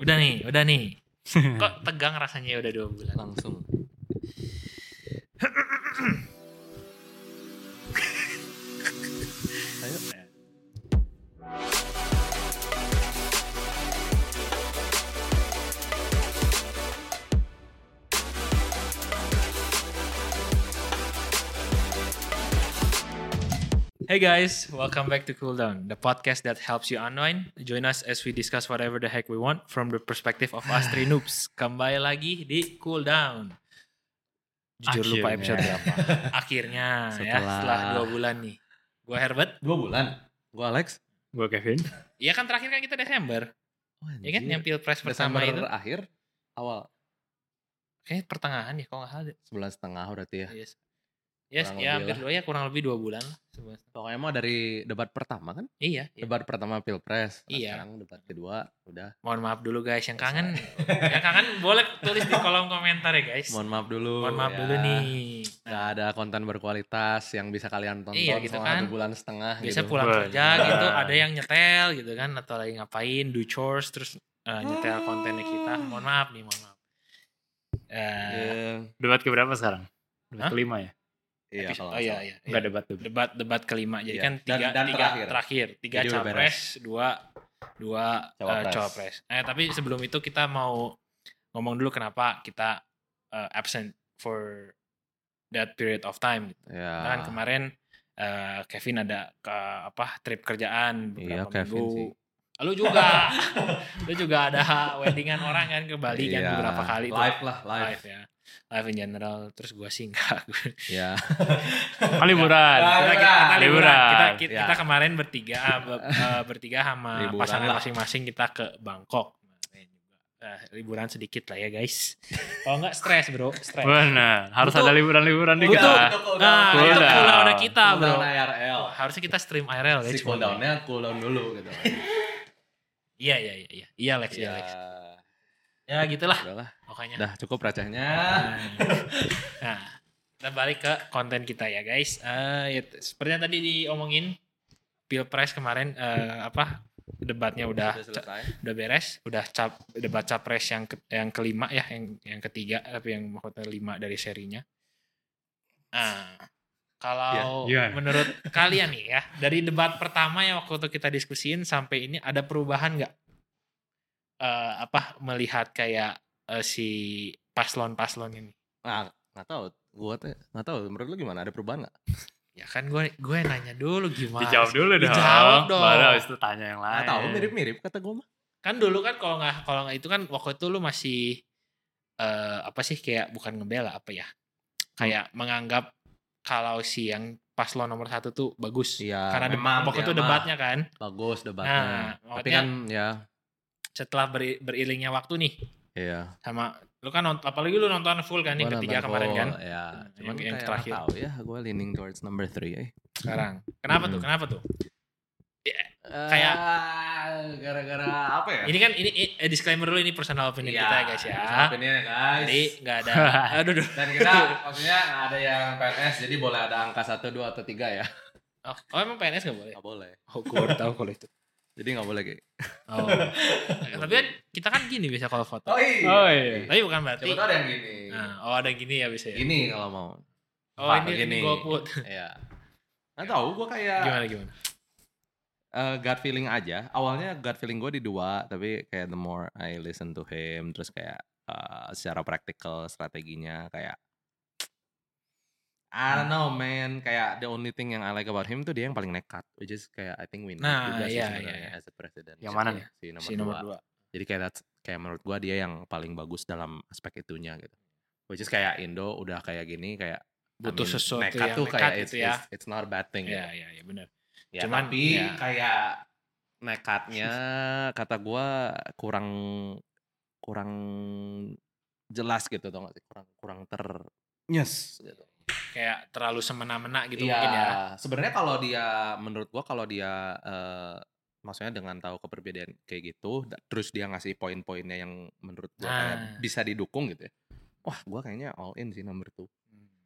Udah nih, udah nih. Kok tegang rasanya udah dua bulan? langsung ayo Hey guys, welcome back to Cool Down, the podcast that helps you unwind. Join us as we discuss whatever the heck we want from the perspective of us three noobs. Kembali lagi di Cool Down. Jujur lupa Akhirnya. episode berapa. Akhirnya ya, Setelah- setelah dua bulan nih. Gue Herbert. dua bulan gua Alex Gue Kevin. Iya kan terakhir kan kita Desember. Iya Ya kan yang pilpres pertama Desember itu. akhir awal Kayaknya pertengahan ya kalau nggak salah. deh. sebulan setengah berarti ya Yes. Yes, Kurang ya lebih hampir dua ya kurang lebih dua bulan lah. Sebulan. pokoknya mah dari debat pertama kan Iya, iya. debat pertama pilpres Nah, Iya. sekarang debat kedua udah Mohon maaf dulu guys yang kangen. yang kangen boleh tulis di kolom komentar ya guys. mohon maaf dulu Mohon maaf ya. dulu nih. Nggak ada konten berkualitas yang bisa kalian tonton Iya, gitu selama kan. satu bulan setengah Biasa gitu. pulang Wah, kerja gila. gitu, ada yang nyetel gitu kan atau lagi ngapain, do chores terus eh, nyetel kontennya kita. Mohon maaf nih, mohon maaf. Eh, Eh, Debat keberapa sekarang? Hah? Debat kelima ya? iya, episode- kalau oh iya nggak iya. Enggak iya. debat tuh. Debat debat kelima. Jadi Iya. kan Dan- tiga dan tiga terakhir. terakhir, tiga Jadi udah capres, dua dua eh, Cawapres. cawapres. Eh tapi sebelum itu kita mau ngomong dulu kenapa kita eh, absent for that period of time salah. Iya. Karena kan kemarin eh, Kevin ada ke apa trip kerjaan Iya, beberapa Kevin minggu. sih. Lu juga. lu juga ada weddingan orang kan ke Bali kan Iya. beberapa kali tuh. live lah live, Live ya. Live in general terus gua sih enggak. ya Kan liburan. Nah, Ah, kita, kita, kita Liburan. liburan. Kita, kita, Iya. kita kemarin bertiga ah, be- eh, bertiga sama Liburan pasangan lah. masing-masing kita ke Bangkok. Kemarin juga. Eh, liburan sedikit lah ya guys. Kalau enggak stres, Bro. Stres. Benar, harus Butuh- ada liburan-libulan dikit Butuh- lah. Nah, Cool itu down. pulau kita, cool Bro. down IRL Harusnya kita stream IRL ya. si cuma- cool downnya cool down dulu gitu Iya iya iya iya. Iya Lex, iya ya Lex. Ya gitulah Ya. udahlah pokoknya. dah cukup recehnya Nah, kita balik ke konten kita ya guys. Eh ya, t- seperti yang tadi diomongin Pilpres kemarin eh, apa debatnya udah Sudah selesai udah beres, udah cap debat capres yang ke- yang kelima ya, yang yang ketiga tapi yang maksudnya lima dari serinya. Nah, kalau Ya, gimana? menurut kalian nih ya, dari debat pertama yang waktu itu kita diskusiin sampai ini ada perubahan nggak? Eh, apa melihat kayak eh, si paslon-paslon ini? nah nggak tahu gua tuh nggak tahu menurut lu gimana ada perubahan nggak Ya kan gue gue nanya dulu gimana? Dijawab dulu dong. Dijawab dong. Baru habis itu tanya yang lain. nggak tahu mirip mirip kata gua mah kan dulu kan kalau nggak kalau nggak itu kan waktu itu lu masih eh apa sih kayak bukan ngebela apa ya kayak menganggap kalau si yang paslon nomor satu tuh bagus iya karena de- memang waktu dia itu mah debatnya kan bagus debatnya Nah, tapi maksudnya- kan ya setelah beri- beriringnya waktu nih iya sama lu kan nont- apalagi lu nonton full kan yang Gua ketiga nonton kemarin full, kan ya Yang- cuman yang kayak nggak terakhir. tahu ya gua leaning towards number three eh. sekarang kenapa tuh Mm. kenapa tuh Kayak- Ah, gara-gara apa ya ini kan ini eh, disclaimer dulu ini personal Iya, opinion kita ya guys ya ini ya guys jadi nggak ada aduh aduh. Dan kita maksudnya nggak ada yang PNS jadi boleh ada angka 1, 2, atau 3 ya. oh, oh, emang PNS nggak boleh Nggak boleh. oh gue baru tahu kalau itu Jadi nggak boleh kayak. gitu. oh tapi kan kita kan gini bisa kalau foto Oh iya. Oh iya. Tapi bukan berarti. Coba tau ada yang gini. Nah, oh ada yang gini ya bisa ya. Iya. Gini kalau mau. oh Pak, ini ini begini. golput. Iya. Nggak tahu gue kayak Gimana gimana? eh, gut feeling aja. Awalnya gut feeling gue di dua, tapi kayak the more I listen to him, terus kayak eh, secara praktikal strateginya kayak I don't know man, kayak the only thing yang I like about him tuh dia yang paling nekat, which is kayak I think we need Nah, juga sih iya, sebenarnya iya, iya. as a president. Yang mana nih? Si nomor, Si nomor dua. dua. Jadi kayak that's- kayak menurut gua dia yang paling bagus dalam aspek itunya gitu. Which is kayak Indo udah kayak gini kayak I Butuh mean, sesuatu nekat yang tuh nekat kayak gitu it's, ya. it's, it's not a bad thing. gitu. Iya iya iya benar. Ya, Cuman, tapi ya. kayak nekatnya kata gua kurang kurang jelas gitu tau gak sih kurang kurang ter yes gitu. Kayak terlalu semena-mena gitu Iya, mungkin ya. sebenarnya kalau dia menurut gua kalau dia eh, maksudnya dengan tahu keperbedaan kayak gitu da- terus dia ngasih poin-poinnya yang menurut gua kayak Nah. bisa didukung gitu ya. Wah, gua kayaknya all in sih nomor tuh.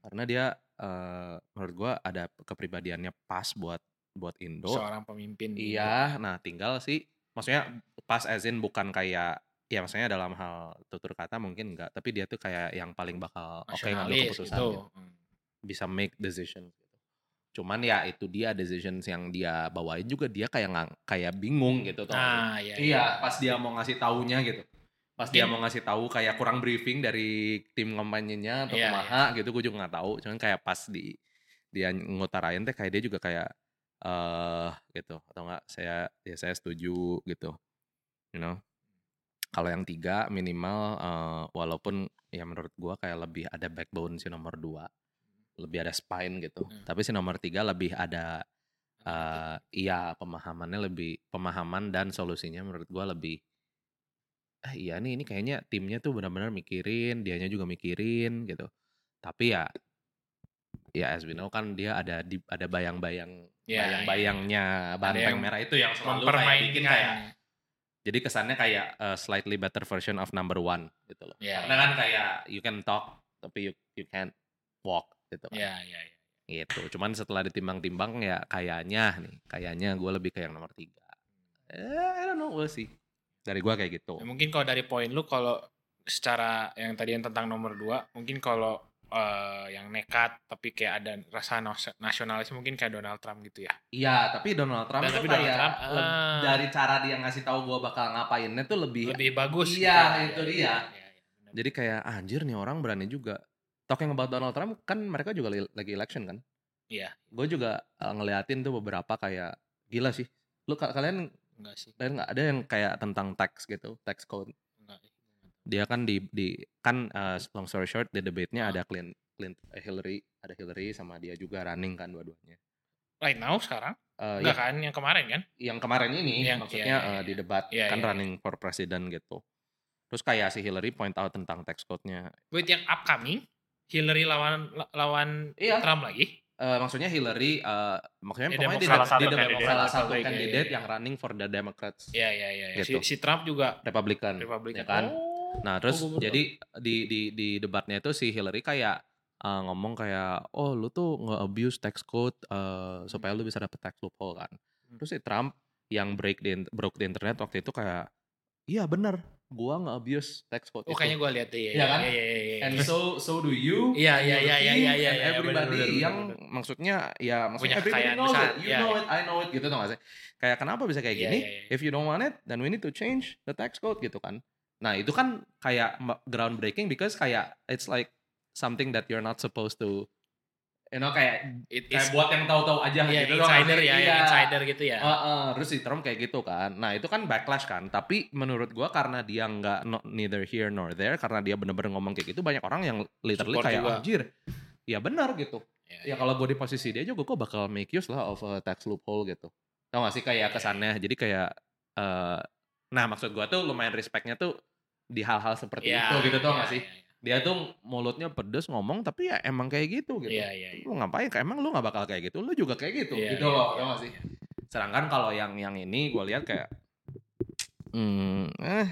Karena dia eh, menurut gua ada kepribadiannya pas buat buat Indo. Seorang pemimpin. Iya, nah tinggal sih maksudnya pas as in bukan kayak ya maksudnya dalam hal tutur kata mungkin enggak tapi dia tuh kayak yang paling bakal oke ngambil nasionalis keputusan gitu. gitu. bisa make decision gitu. cuman ya itu dia decisions yang dia bawain juga dia kayak ngang, kayak bingung gitu tuh Nah, ya, ya. iya pas dia mau ngasih taunya gitu pas dia Mungkin- mau ngasih tahu kayak kurang briefing dari tim kampanyenya atau Iya, kumaha gitu gue juga nggak tahu cuman kayak pas di dia ngutarain teh kayak dia juga kayak eh gitu atau enggak saya ya saya setuju gitu you know kalau yang tiga minimal eh, walaupun ya menurut gua kayak lebih ada backbone si nomor dua lebih ada spine gitu Hmm. tapi si nomor tiga lebih ada eh iya pemahamannya lebih pemahaman dan solusinya menurut gua lebih eh iya nih ini kayaknya timnya tuh benar-benar mikirin dianya juga mikirin gitu tapi ya ya as we know kan dia ada di, ada bayang-bayang Ya, bayang-bayangnya banteng yang merah itu yang selalu kayak bikin kayak mempermainkan jadi kesannya kayak uh, slightly better version of number one gitu loh. Ya, Karena kan kayak you can talk tapi you you can't walk gitu. kan. ya ya ya Gitu. Cuman setelah ditimbang-timbang ya kayaknya nih, kayaknya gue lebih ke yang nomor tiga. Eh, I don't know, we'll see. Dari gue kayak gitu. Ya, mungkin kalau dari poin lu kalau secara yang tadi yang tentang nomor dua mungkin kalau eh, yang nekat tapi kayak ada rasa nas- nasionalis mungkin kayak Donald Trump gitu ya Iya, tapi Donald Trump Dan tuh Ya, tapi Donald kayak Trump, leb- ah. dari cara dia ngasih tahu gue bakal ngapainnya tuh lebih lebih bagus gitu. Iya, itu dia. iya, iya, benar. Jadi kayak "Ah, anjir nih orang berani juga. Talking about Donald Trump kan mereka juga li- lagi election kan? Iya. Gue juga uh, ngeliatin tuh beberapa kayak gila sih. Lu ka- kalian enggak sih kalian nggak ada yang kayak tentang tax gitu, tax code. enggak Dia kan di di kan uh, long story short di debate-nya Ah. ada Clint Clint eh, Hillary, ada Hillary sama dia juga running kan dua-duanya. right now sekarang Uh, enggak ya, kan yang kemarin kan yang kemarin ini Yang- maksudnya iya, iya, uh, di iya. debat Iya, kan iya, running for president gitu. Terus kayak si Hillary point out tentang tax code-nya. buat yang upcoming Hillary lawan lawan Iya. Trump lagi Eh, maksudnya Hillary eh, maksudnya Di pokoknya di Demokrat. salah, Salah di satu Demokrat, kandidat. salah satu Republik, iya, kandidat iya. yang running for the Democrats ya ya ya, ya. Gitu. Si, si Trump juga Republican. Republikan Ya kan? Nah, terus gua baru jadi di di di debatnya itu si Hillary kayak eh, ngomong kayak oh lu tuh nge-abuse tax code eh, supaya lu bisa dapet tax loophole kan. Hmm. Terus si Trump yang break di in- broke di internet waktu itu kayak iya bener gua nge-abuse tax code oh itu." kayaknya gue lihat deh ya Iya kan? ya ya ya, ya. And so so do you. Iya, iya, your iya, iya, team, iya, iya, and iya, Everybody bener, bener, yang maksudnya ya Punya maksudnya everybody kekayaan knows besar, it. You iya, know it, I know it gitu tau gak sih? Kayak kenapa bisa kayak Iya, gini? iya, iya. If you don't want it, then we need to change the tax code gitu kan. Nah, itu kan kayak ma- groundbreaking because kayak it's like something that you're not supposed to you know kayak It- kayak it's- buat yang tahu-tahu aja Iya, gitu tau gak sih? insider ya, yang Iya. insider gitu ya. Heeh, terus si Trump kayak gitu kan. Nah itu kan backlash kan. Tapi menurut gua karena dia nggak no- neither here nor there, karena dia bener-bener ngomong kayak gitu, banyak orang yang literally Support kayak juga. anjir. Ya benar gitu. Iya, Ya kalau gue di posisi dia juga gue bakal make use lah of a tax loophole gitu. Tau gak sih Iya, kayak kesannya. Jadi kayak, eh nah maksud gua tuh lumayan respectnya tuh di hal-hal seperti Iya, itu gitu tau iya, gak sih? Dia tuh mulutnya pedes ngomong tapi ya emang kayak gitu gitu. Iya, iya, iya. Lu ngapain? Kayak Emang lu gak bakal kayak gitu? Lu juga kayak gitu Iya, gitu iya, loh, iya, tau gak sih? Sedangkan kalau yang yang ini gue lihat kayak hmm, eh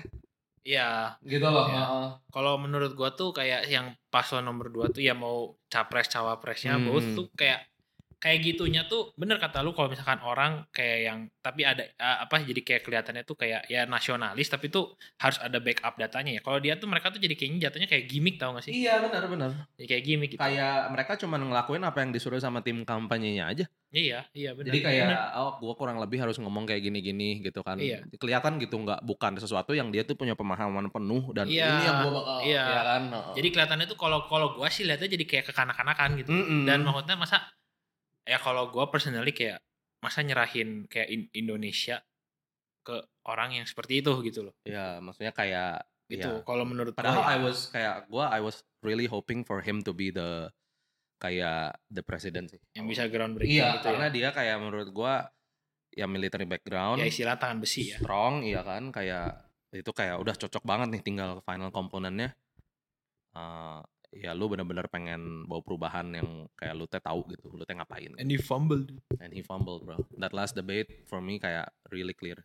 Iya, gitu loh. Iya. heeh. kalau menurut gua tuh kayak yang paslon nomor 2 tuh ya mau capres cawapresnya Hmm. both tuh kayak kayak gitunya tuh bener kata lu kalau misalkan orang kayak yang tapi ada eh, apa jadi kayak kelihatannya tuh kayak ya nasionalis tapi tuh harus ada backup datanya ya. Kalau dia tuh mereka tuh jadi kayaknya jatuhnya kayak gimmick tau gak sih? Iya benar-benar. Jadi kayak gimmick gitu. Kayak mereka cuman ngelakuin apa yang disuruh sama tim kampanyenya aja. Iya, iya benar. Jadi kayak oh gua kurang lebih harus ngomong kayak gini-gini gitu kan. Iya. Kelihatan gitu nggak bukan sesuatu yang dia tuh punya pemahaman penuh dan Iya, ini yang gua bakal iya. ya kan. heeh. Jadi kelihatannya tuh kalau kalau gua sih lihatnya jadi kayak kekanak-kanakan gitu. Mm-mm. Dan maksudnya masa ya kalau gua personally kayak masa nyerahin kayak in- Indonesia ke orang yang seperti itu gitu loh. ya maksudnya kayak Itu ya. kalau menurut gua. Padahal ya. I was kayak gua I was really hoping for him to be the kayak the president sih. yang bisa groundbreaking Iya, gitu karena ya. dia kayak menurut gua ya military background, Ya istilah tangan besi ya. strong, iya kan, kayak itu kayak udah cocok banget nih tinggal final komponennya. Eh, ya lu bener-bener pengen bawa perubahan yang kayak lu teh tahu gitu, lu teh ngapain. And he fumbled. And he fumbled, bro. That last debate for me kayak really clear.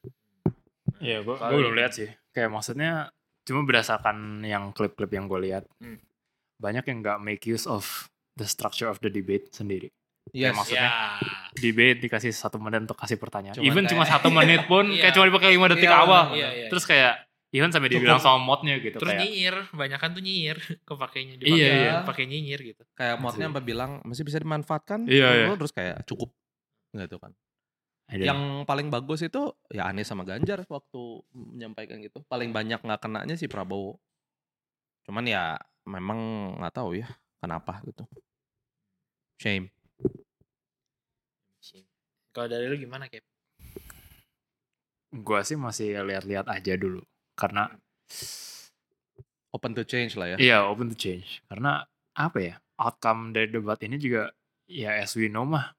Iya, gue Kalau- belum lihat sih. Kayak maksudnya cuma berdasarkan yang klip-klip yang gue lihat, Hmm. banyak yang nggak make use of the structure of the debate sendiri. Yes. maksudnya- Debate dikasih satu menit untuk kasih pertanyaan. Cuman Even cuma kayak- satu menit pun Iya. kayak cuma dipakai lima detik Iya, awal. benar, iya, iya. Terus kayak Even sampai dibilang sama modnya gitu Terus kayak. nyinyir, banyakan tuh nyinyir kepakainya Iya, iya. pakai nyinyir gitu. kayak modnya Asli. sampai bilang masih bisa dimanfaatkan dulu, Iya, iya. terus kayak cukup gitu kan Ada. yang paling bagus itu ya Anies sama Ganjar waktu menyampaikan gitu paling banyak nggak kenanya si Prabowo cuman ya memang nggak tahu ya kenapa gitu shame Kalau dari lu gimana, Kep? gua sih masih lihat-lihat aja dulu karena open to change lah ya Iya, open to change. Karena apa ya? Outcome dari debat ini juga ya as we know mah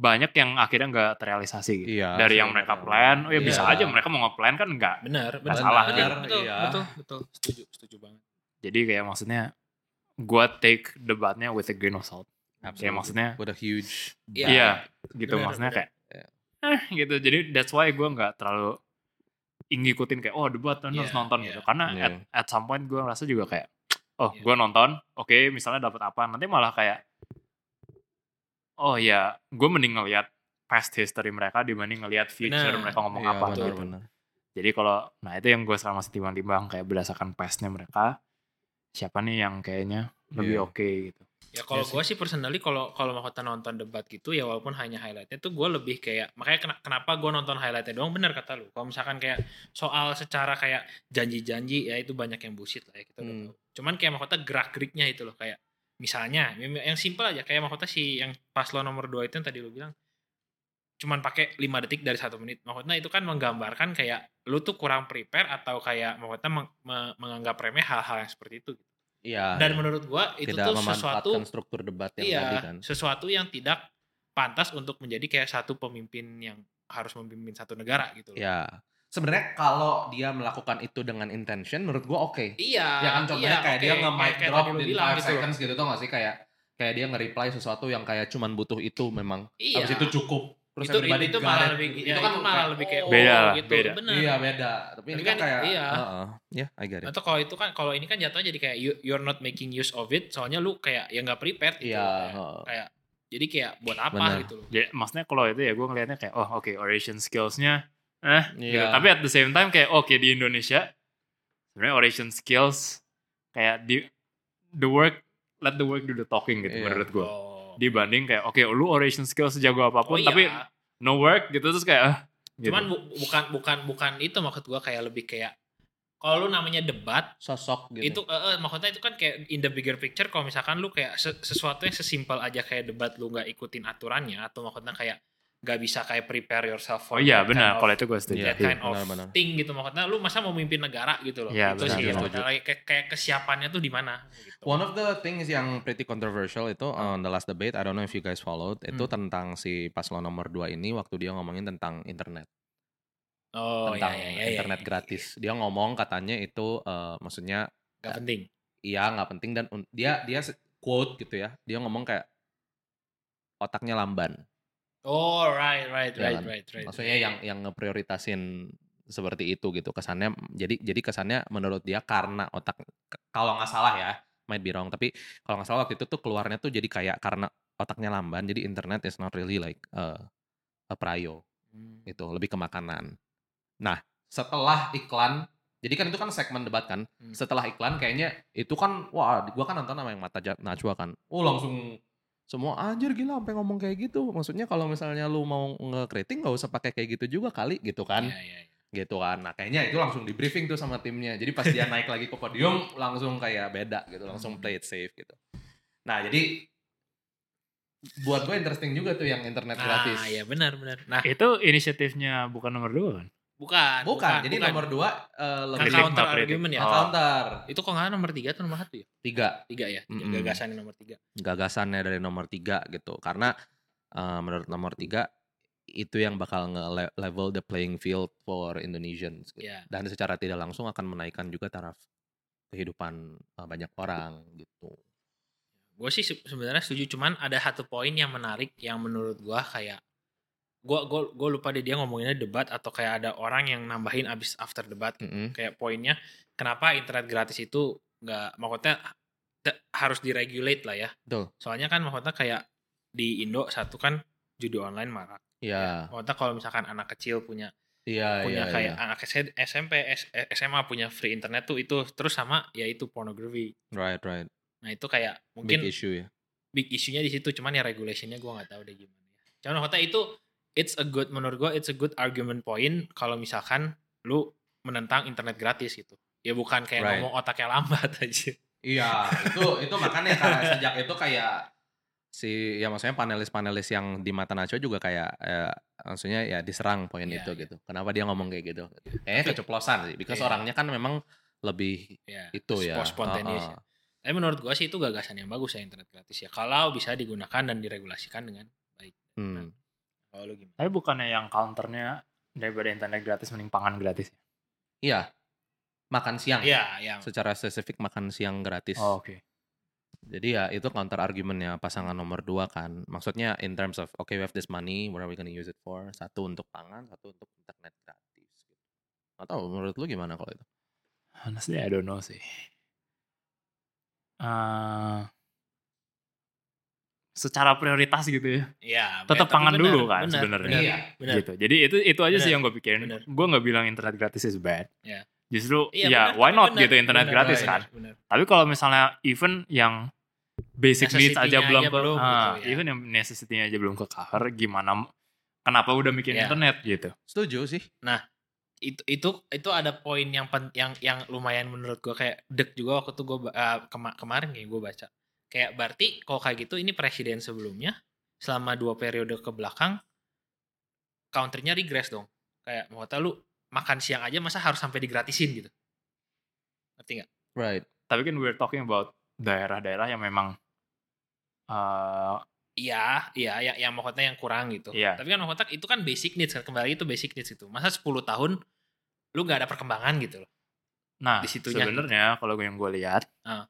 banyak yang akhirnya nggak terrealisasi gitu. Iya, sih. dari yang mereka plan, oh ya Iya. bisa aja mereka mau nge-plan kan nggak. Benar, Nggak benar. salah, benar, kan? betul, Iya. betul, betul, setuju, setuju banget. Jadi kayak maksudnya gua take debatnya with a grain of salt. Absolutely. Kayak Ya, maksudnya What a huge Iya. iya gitu Benar, maksudnya benar. Iya. kayak eh gitu. Jadi that's why gua nggak terlalu ngikutin kayak oh debat kan harus Iya, nonton iya. gitu. Karena Iya. at, at some point gua ngerasa juga kayak oh Iya. gua nonton, oke misalnya dapat apa, nanti malah kayak oh ya gue mending ngelihat past history mereka dibanding ngelihat future Benar. mereka ngomong apa Iya, benar, gitu. benar. Jadi kalau nah itu yang gue sekarang masih timbang-timbang kayak berdasarkan pastnya mereka siapa nih yang kayaknya lebih Iya. oke gitu. Ya kalau Iya sih. gue sih personally kalau kalau mahkota nonton debat gitu ya walaupun hanya highlightnya tuh gue lebih kayak makanya kena- kenapa gue nonton highlightnya doang benar kata lu. Kalau misalkan kayak soal secara kayak janji-janji ya itu banyak yang bullshit lah ya kita udah Hmm. tahu. Cuman kayak mahkota gerak-geriknya itu loh kayak misalnya yang simpel aja kayak mahkota si yang paslon nomor 2 itu yang tadi lu bilang cuman pakai 5 detik dari satu menit. Maksudnya itu kan menggambarkan kayak lu tuh kurang prepare atau kayak mahkota meng- me- menganggap remeh hal-hal yang seperti itu. Iya, Dan iya. menurut gua itu tidak tuh sesuatu memanfaatkan struktur debat yang iya, tadi kan sesuatu yang tidak pantas untuk menjadi kayak satu pemimpin yang harus memimpin satu negara gitu Iya. loh. ya sebenarnya kalau dia melakukan itu dengan intention menurut gua oke Iya. ya kan contohnya iya, kayak oke, dia nge mic kayak- kayak drop tadi lu di bilang 5 gitu loh. seconds gitu tuh gak sih kayak kayak dia nge-reply sesuatu yang kayak cuman butuh itu memang Iya. habis itu cukup terus itu, everybody itu got malah it. lebih Itu ya, kan itu malah lebih kayak oh, Beda lah, gitu. beda. Bener. iya beda tapi ini Tapi kan kan kayak iya. Heeh. ya I get it Atau kalau itu kan kalau ini kan jatuhnya jadi kayak you, you're not making use of it soalnya lu kayak ya nggak prepared gitu. iya loh, kayak. heeh. Jadi kayak buat apa Bener. gitu loh. Jadi maksudnya kalau itu ya gue ngelihatnya kayak oh oke oration skillsnya eh gitu. Iya. Tapi at the same time kayak oke di Indonesia sebenarnya oration skills kayak di the work let the work do the talking gitu Iya. menurut gue. Oh. Dibanding kayak oke lu oration skills sejago Oh, apapun iya. tapi no work gitu terus kayak ah, gitu. Cuman bu- bukan bukan bukan itu maksud gua kayak lebih kayak kalau lu namanya debat sosok gitu itu eh, eh, maksudnya itu kan kayak in the bigger picture kalau misalkan lu kayak se- sesuatu yang sesimpel aja kayak debat lu nggak ikutin aturannya atau maksudnya kayak nggak bisa kayak prepare yourself for oh iya that benar kind kalau of, itu gue setuju. that Iya, kind of benar-benar. thing gitu maksudnya lu masa mau mimpin negara gitu loh Iya, itu benar, sih setuju. maksudnya kayak, kayak- kayak kesiapannya tuh di mana gitu. One of the things yang pretty controversial itu uh, on the last debate, I don't know if you guys followed, itu Hmm. tentang si paslon nomor 2 ini waktu dia ngomongin tentang internet, oh, tentang iya, iya, iya, internet iya, gratis. Dia ngomong katanya itu eh, maksudnya iya. nggak penting iya nggak penting dan un- dia dia se- quote gitu ya. Dia ngomong kayak otaknya lamban. oh right right Iya right kan? right right Maksudnya yang yang ngeprioritasin seperti itu gitu kesannya jadi jadi kesannya menurut dia karena otak kalau nggak salah ya might be wrong tapi kalau nggak salah waktu itu tuh keluarnya tuh jadi kayak karena otaknya lamban jadi internet is not really like uh, a prio Hmm. itu gitu, lebih ke makanan nah setelah iklan jadi kan itu kan segmen debat kan Hmm. setelah iklan kayaknya itu kan wah gua kan nonton sama yang mata Ja- najwa kan oh langsung semua anjir gila sampai ngomong kayak gitu maksudnya kalau misalnya lu mau ngekritik nggak usah pakai kayak gitu juga kali gitu kan Iya, iya, iya. gitu kan nah kayaknya itu langsung di briefing tuh sama timnya jadi pas dia naik lagi ke podium langsung kayak beda gitu Hmm. langsung play it safe gitu nah jadi buat gue interesting juga tuh yang internet gratis ah ya benar benar nah Itu inisiatifnya bukan nomor dua kan? bukan bukan, jadi nomor dua eh, Kan lebih Kritik, counter nggak kritik. argument ya. Nah, counter itu kok nggak nomor tiga atau nomor satu ya tiga tiga ya tiga Mm-mm. gagasan yang nomor tiga gagasannya dari nomor tiga gitu karena eh, menurut nomor tiga itu yang bakal nge-level the playing field for Indonesians gitu. ya dan secara tidak langsung akan menaikkan juga taraf kehidupan eh, banyak orang gitu gue sih se- sebenarnya setuju cuman ada satu poin yang menarik yang menurut gua kayak gua gua gua lupa deh dia ngomonginnya debat atau kayak ada orang yang nambahin abis after debat gitu. Mm-mm. kayak poinnya kenapa internet gratis itu nggak maksudnya te- harus diregulate lah ya Betul. soalnya kan maksudnya kayak di Indo satu kan judi online marak ya Maksudnya kalau misalkan anak kecil punya Iya, Iya. punya iya, kayak iya. anak S- SMP S- SMA punya free internet tuh itu terus sama ya yaitu pornography Right, right. nah itu kayak Big mungkin issue ya. big isunya di situ cuman ya regulationnya gue nggak tahu deh gimana cuman kota itu it's a good menurut gue it's a good argument point kalau misalkan lu menentang internet gratis gitu ya bukan kayak Right. ngomong otaknya lambat aja Iya, itu itu makanya karena sejak itu kayak si ya maksudnya panelis-panelis yang di mata Nacho juga kayak eh, maksudnya ya diserang poin Iya, itu iya. gitu. Kenapa dia ngomong kayak gitu? Kayaknya keceplosan sih, because Iya. orangnya kan memang lebih ya itu ya. spo- spontaneous ya. Heeh. tapi menurut gue sih itu gagasan yang bagus ya internet gratis ya kalau bisa digunakan dan diregulasikan dengan Hmm. kalau lu gimana Tapi bukannya yang counternya daripada internet gratis mending pangan gratis. ya? Iya. Makan siang. ya ya Secara spesifik makan siang gratis. Oh, Oke. Jadi ya itu counter argumentnya pasangan nomor dua kan. Maksudnya in terms of okay we have this money, what are we gonna use it for? Satu untuk pangan, satu untuk internet gratis. Gak tau menurut lu gimana kalau itu? Honestly, I don't know sih. Eh, secara prioritas gitu ya. ya Tetap tapi pangan benar, dulu kan benar, sebenarnya. benar, Iya. benar. Gitu. Jadi itu itu aja Benar, sih yang gue pikirin. benar. Gue nggak bilang internet gratis is bad. Iya. Justru Iya, ya benar, why tapi not benar. gitu internet Benar, gratis benar, kan. benar. Tapi kalau misalnya even yang basic needs aja Necessity-nya belum aja ke, belum Ah, gitu ya. even yang necessity-nya aja belum ke cover, gimana kenapa udah mikirin Iya. internet gitu? Setuju sih. itu itu itu ada poin yang pen, yang yang lumayan menurut gue kayak deg juga waktu tuh gue eh, kemarin kayak gue baca kayak berarti kalau kayak gitu ini presiden sebelumnya selama dua periode ke belakang counternya regress dong kayak mau tau lu makan siang aja masa harus sampai digratisin gitu ngerti nggak Right. Tapi kan we're talking about daerah-daerah yang memang eh, iya iya yang yang maksudnya yang kurang gitu Iya. tapi kan maksudnya itu kan basic needs kan kembali itu basic needs itu masa 10 tahun lu nggak ada perkembangan gitu loh Nah, di situnya. sebenarnya kalau yang gue lihat, Ah.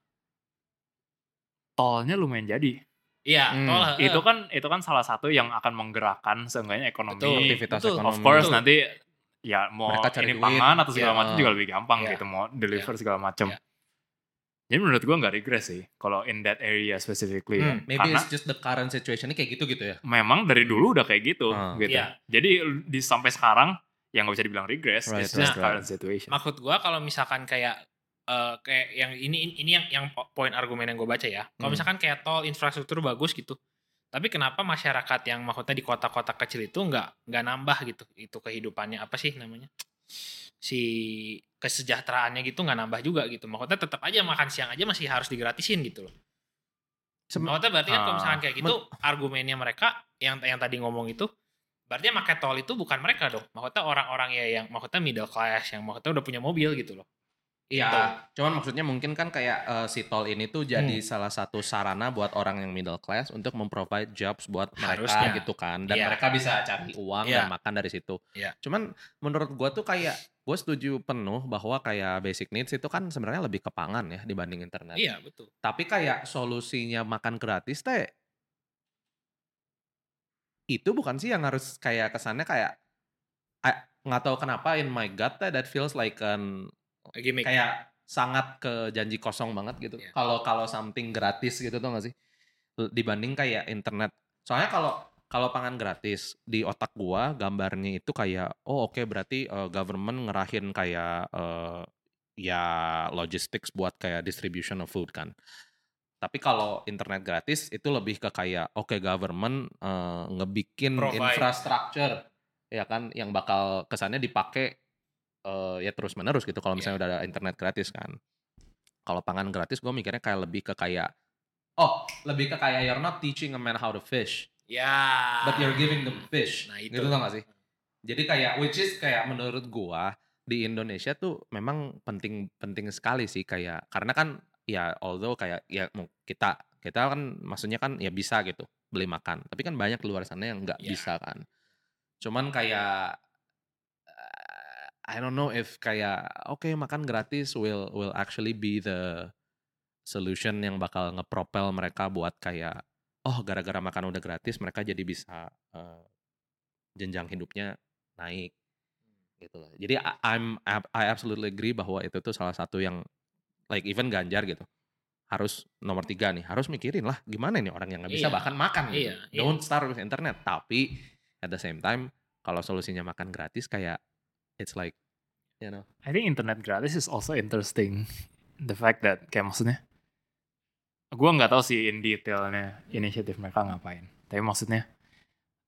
tolnya lumayan jadi. iya Hmm, tol, eh, Itu kan itu kan salah satu yang akan menggerakkan seenggaknya ekonomi. Betul. Aktivitas Betul. ekonomi. Of course Betul. nanti ya mau Mereka cari ini duit. Ya. pangan atau segala Iya. macam juga lebih gampang Iya. gitu mau deliver segala macam. Iya. Jadi menurut gue nggak regress sih kalau in that area specifically. ya. Hmm, Maybe Karena it's just the current situation-nya kayak gitu gitu ya. memang dari dulu udah kayak gitu Ah. gitu. Iya. Jadi di sampai sekarang yang nggak bisa dibilang regress, Right, it's just right, right. current situation. Iya. maksud gua kalau misalkan kayak eh, kayak yang ini ini yang yang po- poin argumen yang gue baca ya kalau Hmm. misalkan kayak tol infrastruktur bagus gitu tapi kenapa masyarakat yang maksudnya di kota-kota kecil itu nggak nggak nambah gitu itu kehidupannya apa sih namanya si kesejahteraannya gitu nggak nambah juga gitu maksudnya tetap aja makan siang aja masih harus digratisin gitu loh Sem- maksudnya berarti kan kalau Ah, misalkan kayak gitu argumennya mereka yang yang tadi ngomong itu berarti yang pakai tol itu bukan mereka dong maksudnya orang-orang ya yang maksudnya middle class yang maksudnya udah punya mobil gitu loh Betul. Iya, cuman maksudnya mungkin kan kayak eh, si tol ini tuh jadi salah satu sarana buat orang yang middle class untuk memprovide jobs buat mereka Harusnya. gitu kan, dan Iya. mereka bisa cari uang Iya. dan makan dari situ. Iya. Cuman menurut gua tuh kayak gua setuju penuh bahwa kayak basic needs itu kan sebenarnya lebih ke pangan ya dibanding internet. Iya betul. Tapi kayak solusinya makan gratis teh itu bukan sih yang harus kayak kesannya kayak I- nggak tahu kenapa in my gut teh that feels like an Gimik. kayak sangat ke janji kosong banget gitu. Iya. Kalau kalau something gratis gitu tuh gak sih? L- Dibanding kayak internet. Soalnya kalau kalau pangan gratis di otak gua gambarnya itu kayak oh oke berarti eh, government ngerahin kayak eh, ya logistics buat kayak distribution of food kan. Tapi kalau internet gratis itu lebih ke kayak oke government eh, ngebikin Provide. infrastructure ya kan yang bakal kesannya dipakai eh, ya terus menerus gitu kalau misalnya udah ada internet gratis kan kalau pangan gratis gue mikirnya kayak lebih ke kayak oh lebih ke kayak you're not teaching a man how to fish Ya. but you're giving them fish Nah, itu. gitu tau gak sih jadi kayak which is kayak menurut gua di Indonesia tuh memang penting penting sekali sih kayak karena kan ya although kayak ya mau kita kita kan maksudnya kan ya bisa gitu beli makan tapi kan banyak di luar sana yang nggak Ya. bisa kan cuman kayak eh, I don't know if kayak oke makan gratis will will actually be the solution yang bakal ngepropel mereka buat kayak oh gara-gara makan udah gratis mereka jadi bisa eh, jenjang hidupnya naik gitu loh. Jadi I- I'm I absolutely agree bahwa itu tuh salah satu yang like even Ganjar gitu harus nomor tiga nih harus mikirin lah gimana ini orang yang nggak bisa Iya. bahkan makan Iya, gitu. iya. don't starve with internet tapi at the same time kalau solusinya makan gratis kayak it's like you know I think internet gratis is also interesting. The fact that kayak maksudnya, gue nggak tahu sih in detailnya inisiatif mereka ngapain. Tapi maksudnya,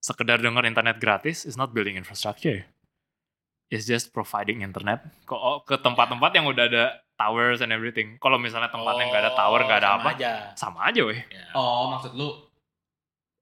sekedar dengar internet gratis is not building infrastructure. It's just providing internet ke, ke tempat-tempat yang udah ada towers and everything. Kalau misalnya tempat yang nggak Oh, ada tower, nggak ada sama apa, aja. sama aja weh. Oh, maksud lu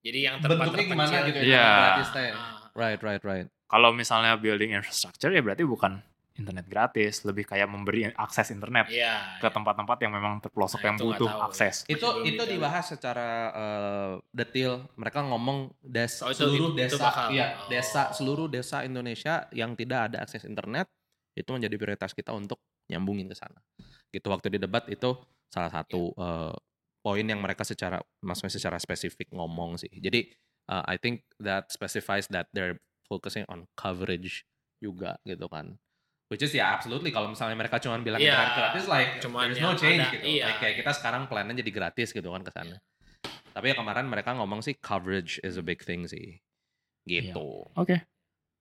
Jadi yang tempat bentuknya gimana gitu ya? Iya. Gratis teh. Ah, right right right Kalau misalnya building infrastructure ya berarti bukan internet gratis, lebih kayak memberi akses internet Iya. ke tempat-tempat yang memang terpelosok Nah, yang itu nggak butuh tahu. akses. itu belum itu detail. dibahas secara eh, detail mereka ngomong des Oh, itu- itu- seluruh itu desa bakal. iya, Oh. desa seluruh desa Indonesia yang tidak ada akses internet itu menjadi prioritas kita untuk nyambungin ke sana gitu waktu di debat itu salah satu Iya. eh, poin yang mereka secara maksudnya secara spesifik ngomong sih jadi eh, I think that specifies that they're focusing on coverage juga gitu kan which is ya absolutely kalau misalnya mereka cuma bilang Iya, internet gratis like cuman there's yang no change ada, gitu iya. Like, kayak kita sekarang plannya jadi gratis gitu kan ke sana tapi ya kemarin mereka ngomong sih coverage is a big thing sih gitu Oke.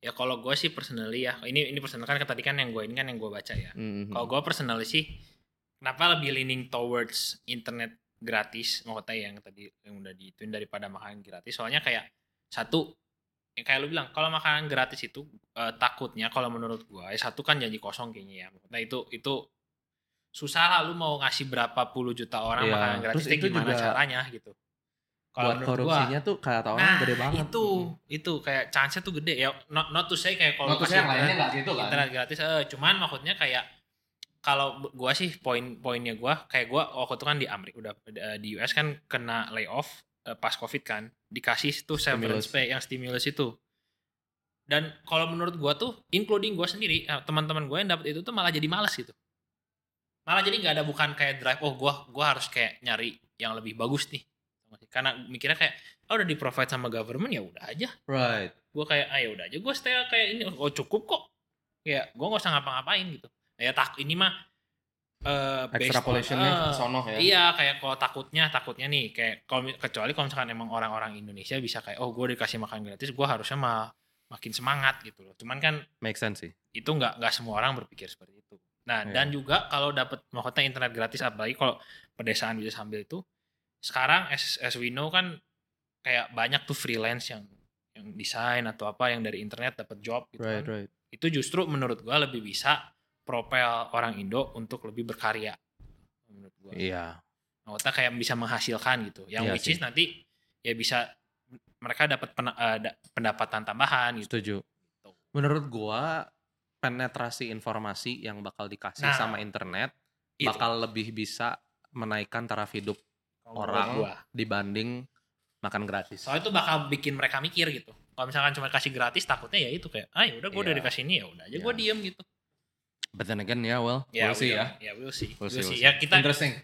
Ya kalau gue sih personally ya, ini ini personal kan tadi kan yang gue ini kan yang gue baca ya. Mhm. Kalau gue personally sih, kenapa lebih leaning towards internet gratis, maksudnya yang tadi yang udah diituin daripada makanan gratis. Soalnya kayak satu, yang kayak lu bilang, kalau makanan gratis itu eh, takutnya kalau menurut gue, ya satu kan janji kosong kayaknya ya. Nah itu itu susah lah lu mau ngasih berapa puluh juta orang Iya, makanan gratis, itu terus itu gimana juga caranya gitu. buat menurut gua, korupsinya tuh kata orang nah, gede banget Mm-hmm. Hmm. itu itu kayak chance tuh gede ya not, not to say kayak kalau Notus kasih yang lainnya internet- nggak gitu kan? internet gratis eh, cuman maksudnya kayak kalau bu- gua sih poin poinnya gua kayak gua waktu itu kan di Amerika udah eh, di US kan kena layoff eh, pas covid kan dikasih tuh severance Stimulus. pay yang stimulus itu dan kalau menurut gua tuh including gua sendiri eh, teman-teman gua yang dapet itu tuh malah jadi males gitu malah jadi nggak ada bukan kayak drive oh gua gua harus kayak nyari yang lebih bagus nih karena mikirnya kayak oh udah di provide sama government ya udah aja right gue kayak ah ya udah aja gue stay kayak ini oh cukup kok ya gue nggak usah ngapa-ngapain gitu ya tak ini mah eh, based Extrapolationnya on- ke sono ya. iya kayak kalau takutnya takutnya nih kayak kalau mi- kecuali kalau misalkan emang orang-orang Indonesia bisa kayak oh gue dikasih makan gratis gue harusnya mah makin semangat gitu loh cuman kan make sense sih itu nggak nggak semua orang berpikir seperti itu. Nah Iya. dan juga kalau dapat maksudnya internet gratis apalagi kalau pedesaan bisa sambil itu sekarang as, as we know kan kayak banyak tuh freelance yang yang desain atau apa yang dari internet dapat job gitu kan. right Itu justru menurut gua lebih bisa propel orang Indo untuk lebih berkarya menurut gua. iya Maksudnya kayak bisa menghasilkan gitu. Yang Iya which sih. is nanti ya bisa mereka dapat pena- eh, da- pendapatan tambahan gitu. setuju menurut gua penetrasi informasi yang bakal dikasih Nah, sama internet Itu bakal lebih bisa menaikkan taraf hidup kalau menurut orang gua. dibanding makan gratis soalnya itu bakal bikin mereka mikir gitu kalau misalkan cuma kasih gratis takutnya ya itu kayak ah ya udah gue udah Iya. dikasih ini ya udah aja Iya. gue diem gitu but then again ya well we'll see ya ya we'll see we'll, We'll see, see, we'll ya kita Interesting.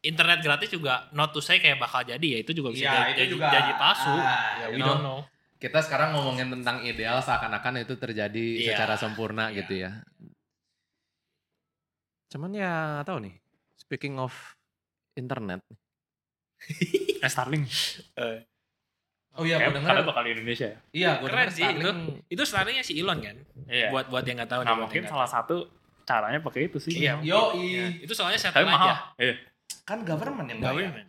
internet gratis juga not to say kayak bakal jadi ya itu juga bisa Iya, jadi, itu jadi- juga. jadi palsu Ah, ya we you know. don't know kita sekarang ngomongin tentang ideal seakan-akan itu terjadi Iya. secara sempurna Iya. gitu ya. Cuman ya nggak tahu nih. Speaking of internet, Eh, Starlink. oh iya, Kayak karena bakal di Indonesia ya. Iya, gua Keren denger sih, Starlink- itu startnya si Elon kan Iya. buat buat yang nggak tahu nah nih, buat mungkin yang salah nggak satu caranya pakai itu sih. Iya. Yo, tahu. Ya, itu soalnya ya? Tapi satelit mahal. aja Iya. Kan government yang bayar. Government.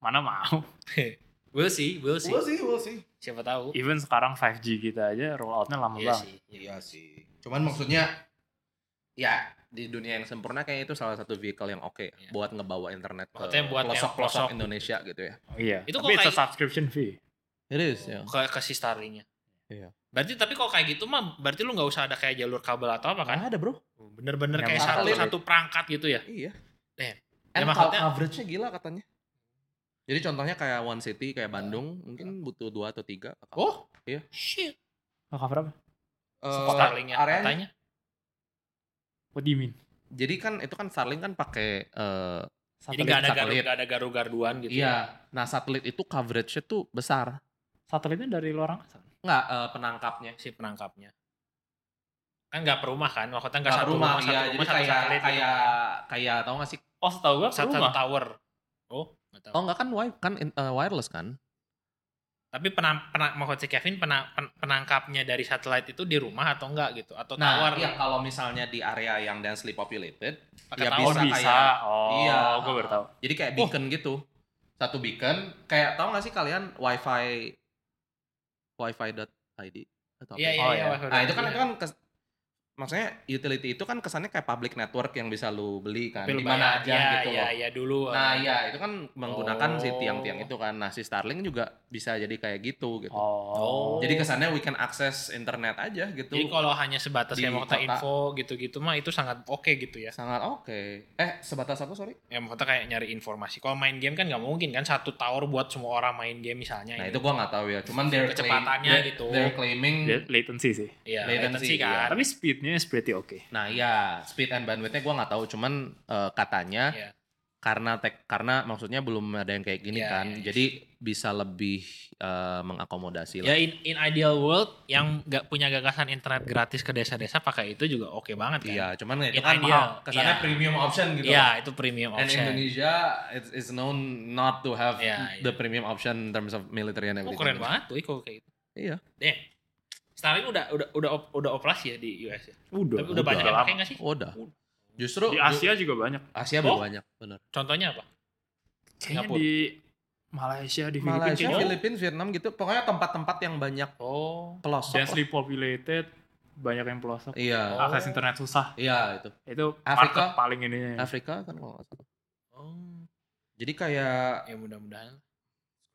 Mana mau. we'll see we'll see We'll see, we'll see. siapa tahu Iya. Even sekarang 5G kita aja rolloutnya lama Iya banget. sih Iya sih. Cuman maksudnya ya Di dunia yang sempurna kayak itu salah satu vehicle yang oke Iya. buat ngebawa internet ke Maksudnya buat yang pelosok-pelosok pelosok. Indonesia gitu ya. Oh, Iya. Itu Tapi kok it's a kayak- subscription fee. It is, ke ke si Starlink-nya. Iya. Berarti tapi kalau kayak gitu mah berarti lu nggak usah ada kayak jalur kabel atau apa kan? ada, Bro. Bener-bener Yang kayak satu satelit. satu perangkat gitu ya. Iya. Iya. Ya, And co- maksudnya- coverage-nya gila katanya. Jadi contohnya kayak one city kayak Bandung mungkin butuh dua atau tiga. Iya. Oh, Shit. Oh, cover apa? Eh, Starlink-nya areanya katanya. What do you mean? jadi kan itu kan Starlink kan pakai eh, Jadi nggak ada garu satelit. nggak ada garu-garuan gitu. Iya. Nah satelit itu coverage-nya tuh besar. Satelitnya dari luar angkasa. Nggak eh, penangkapnya. ya, Si penangkapnya. Kan nggak per rumah kan? Maksudnya nggak Nggak satu rumah, rumah, satu iya. rumah Jadi satu kayak satelit. gitu kayak kan. kayak tau nggak sih? Oh, setahu gua satu, satu tower. Oh, nggak tahu. Oh nggak kan wi kan in- eh, wireless kan? Tapi pernah pernah maksud si Kevin pernah pen- penangkapnya dari satelit itu di rumah atau enggak gitu atau Nah, tawar iya, kalau misalnya di area yang densely populated, pakai ya tawar bisa kayak- oh iya. gue baru tahu jadi Oh. kayak beacon gitu. Satu beacon. Kayak tahu nggak sih kalian wifi wifi.id atau apa? Iya iya Oh, iya. iya. Wahyu Nah, itu kan Dodi. itu kan kes- maksudnya utility itu kan kesannya kayak public network yang bisa lu beli kan Tapi lu di bayar. mana aja Iya, gitu Iya loh. iya dulu. Nah, iya itu kan menggunakan si Oh. tiang-tiang itu kan. Nah, si Starlink juga bisa jadi kayak gitu gitu. oh Jadi kesannya we can access internet aja gitu. Jadi kalau hanya sebatas di kayak Mohta kota. info gitu-gitu mah itu sangat oke gitu ya. sangat oke. Eh, sebatas apa sorry? Ya Mohta kayak nyari informasi. Kalau main game kan nggak mungkin kan satu tower buat semua orang main game misalnya. Nah, gitu. itu gua nggak tahu ya. Cuman they're claim- Kecepatannya they're- gitu. They're claiming Dia latency sih Iya, latency, latency iya. kan. tapi speednya is pretty oke Nah, iya, speed and bandwidthnya gua nggak tahu, cuman eh, katanya Iya. karena tek karena maksudnya belum ada yang kayak gini Iya, kan. iya, iya. Jadi bisa lebih eh, mengakomodasi Ya in, in ideal world yang nggak punya gagasan internet gratis ke desa-desa pakai itu juga oke banget kan. Iya, cuman itu Yang kan ideal. mahal. Kesannya Iya. premium option gitu. Iya, itu premium And option. Indonesia is, is known not to have Iya, the iya. premium option in terms of military and Oh, everything. keren banget tuh kalau kayak gitu. gitu kan. Iya. Damn. Starlink udah udah udah op- udah operasi ya di US ya. udah Tapi udah banyak yang pakai nggak sih? Udah. Justru di Asia juga banyak Asia Oh. banyak, benar. Contohnya apa? kayaknya Singapura. di Malaysia di Filipina Malaysia, kayaknya Filipina, Vietnam gitu. Pokoknya tempat-tempat yang banyak Oh. pelosok. lah. densely populated banyak yang pelosok Iya. Oh. akses internet susah Iya, itu. itu Afrika. market paling ini Afrika kan kalau nggak salah. Oh. Jadi kayak Ya mudah-mudahan.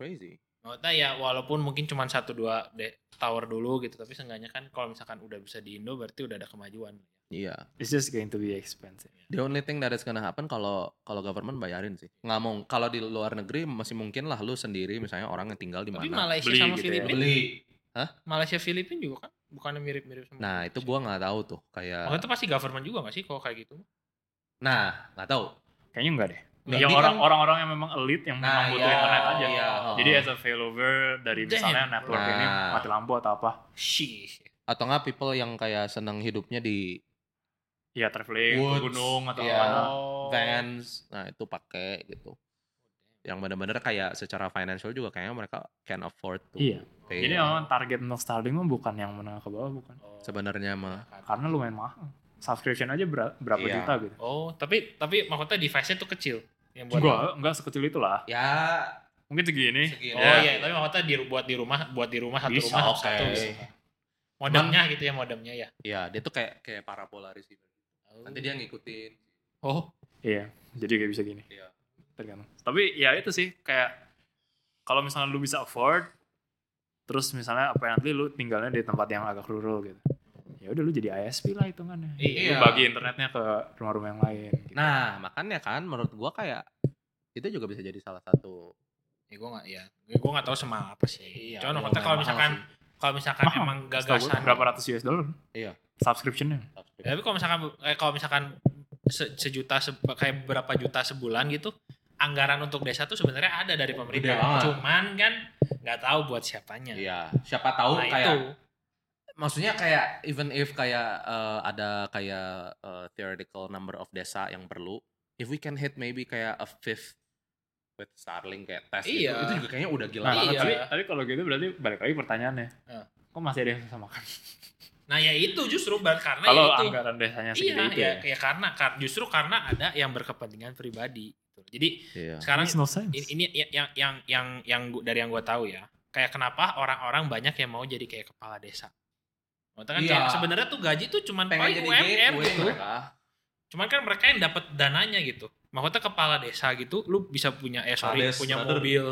crazy. Maksudnya ya walaupun mungkin cuma satu dua de- tower dulu gitu, tapi seenggaknya kan kalau misalkan udah bisa di Indo berarti udah ada kemajuan. Iya. it's just going to be expensive The only thing that is gonna happen kalau kalau government bayarin sih. Nggak mau kalau di luar negeri masih mungkin lah lu sendiri misalnya orang yang tinggal di Tapi mana. Malaysia Beli sama gitu ya. Filipina, Beli. Malaysia Filipina juga kan bukannya mirip-mirip sama Nah, itu gua nggak tahu tuh kayak Maksudnya Oh, itu pasti government juga gak sih kalau kayak gitu? Nah, nggak tahu. kayaknya enggak deh Nggak, ya dia orang kan- orang orang yang memang elit yang memang Nah, butuh iya, internet aja iya. jadi as a failover dari Damn. misalnya network ini Nah. mati lampu atau apa Shih. atau nggak people yang kayak seneng hidupnya di ya traveling ke Woods, gunung atau iya. apa Oh. vans, nah itu pakai gitu. Yang bener-bener kayak secara financial juga kayaknya mereka can afford tuh. Iya. pay. ya. Jadi memang target untuk Starlink mah bukan yang menengah ke bawah bukan. Oh. sebenarnya mah Karena lumayan mahal. Subscription aja ber- berapa Iya. juta gitu. Oh, tapi tapi maksudnya device-nya tuh kecil. Yang buat Enggak, enggak sekecil itulah. Ya, Mungkin segini. segini. Oh iya, tapi maksudnya di, buat di rumah, buat di rumah satu Bisa, rumah Ah, oke. satu bisa. Modemnya gitu ya, modemnya ya. Iya, dia tuh kayak kayak parabola receiver. Nanti dia ngikutin. Oh, Iya. Jadi kayak bisa gini. Iya. Tergantung. Tapi ya itu sih kayak kalau misalnya lu bisa afford terus misalnya apparently lu tinggalnya di tempat yang agak rural gitu. Ya udah lu jadi ISP lah hitungannya. Iya. Lu bagi internetnya ke rumah-rumah yang lain. gitu. Nah, makanya kan menurut gua kayak itu juga bisa jadi salah satu. ya gue nggak ya, gue nggak tahu semahal apa Iya, sih. Cuman maksudnya lumayan kalau mahal misalkan sih. kalau misalkan Mahal. emang Setahu gua gagasan berapa ratus US dollar? Iya. Subscriptionnya. Ya, tapi kalau misalkan eh, kalau misalkan se- sejuta se- kayak berapa juta sebulan gitu anggaran untuk desa tuh sebenarnya ada dari pemerintah Udah banget. cuman kan nggak tahu buat siapanya Iya, siapa tahu nah kayak itu maksudnya kayak even if kayak eh, ada kayak eh, theoretical number of desa yang perlu, if we can hit maybe kayak a fifth with Starlink kayak tes gitu, Iya. itu juga kayaknya udah gila Nah, banget. Iya. tapi, tapi kalau gitu berarti balik lagi pertanyaannya. Eh. Kok masih ada yang susah makan? nah ya itu justru bar- karena Kalau ya itu anggaran desanya segede iya itu ya, ya. ya karena kar- justru karena ada yang berkepentingan pribadi gitu. jadi Iya. sekarang Makes no sense. ini, ini ya- yang yang yang yang gua- dari yang gue tahu ya kayak kenapa orang-orang banyak yang mau jadi kayak kepala desa Maksudnya kan Iya. kayak sebenarnya tuh gaji tuh cuman pengen paling jadi UMR gateway gitu mereka. cuman kan mereka yang dapat dananya gitu maksudnya kepala desa gitu lu bisa punya eh sorry Kades, punya brother. mobil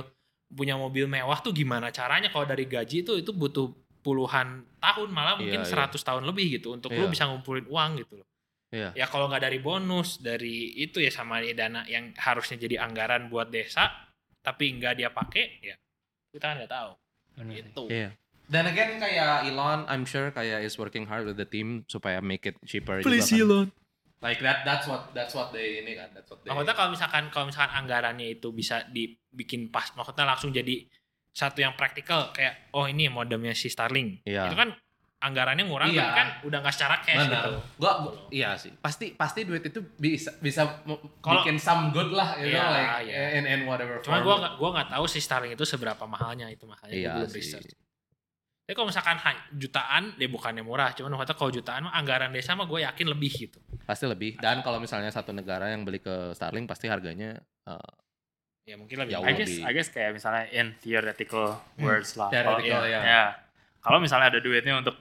punya mobil mewah tuh gimana caranya kalau dari gaji itu itu butuh puluhan tahun malah mungkin Iya, 100 tahun lebih gitu untuk lu Iya. bisa ngumpulin uang gitu loh Iya. ya kalau nggak dari bonus dari itu ya sama ya dana yang harusnya jadi anggaran buat desa tapi nggak dia pakai ya kita kan nggak tahu Bener sih. gitu Iya. Dan again kayak Elon, I'm sure kayak is working hard with the team supaya make it cheaper juga kan. Like that, that's what that's what they ini kan, that's what they. Maksudnya kalau misalkan kalau misalkan anggarannya itu bisa dibikin pas, maksudnya langsung jadi satu yang praktikal kayak oh ini modemnya si Starlink. Iya. Itu kan anggarannya ngurang Ya. Iya. tapi kan udah nggak secara cash gitu. Benar. Gua iya sih. Pasti pasti duit itu bisa bisa mo- Kalau- bikin some good lah, you Iya, know like iya. in, in whatever Cuma form. gua nggak gua nggak tahu sih Starlink itu seberapa mahalnya itu mahalnya Iya gua belum sih. research. Tapi kalau misalkan ha- jutaan, ya bukannya murah. Cuman waktu kalau jutaan mah anggaran desa mah gue yakin lebih gitu. Pasti lebih. Dan kalau misalnya satu negara yang beli ke Starlink pasti harganya eh, Ya mungkin lebih. Jauh I I guess- guess, lebih. I guess kayak misalnya in theoretical words lah. Kalau- Theoretical, Kalau- ya. Ya. Kalau misalnya ada duitnya untuk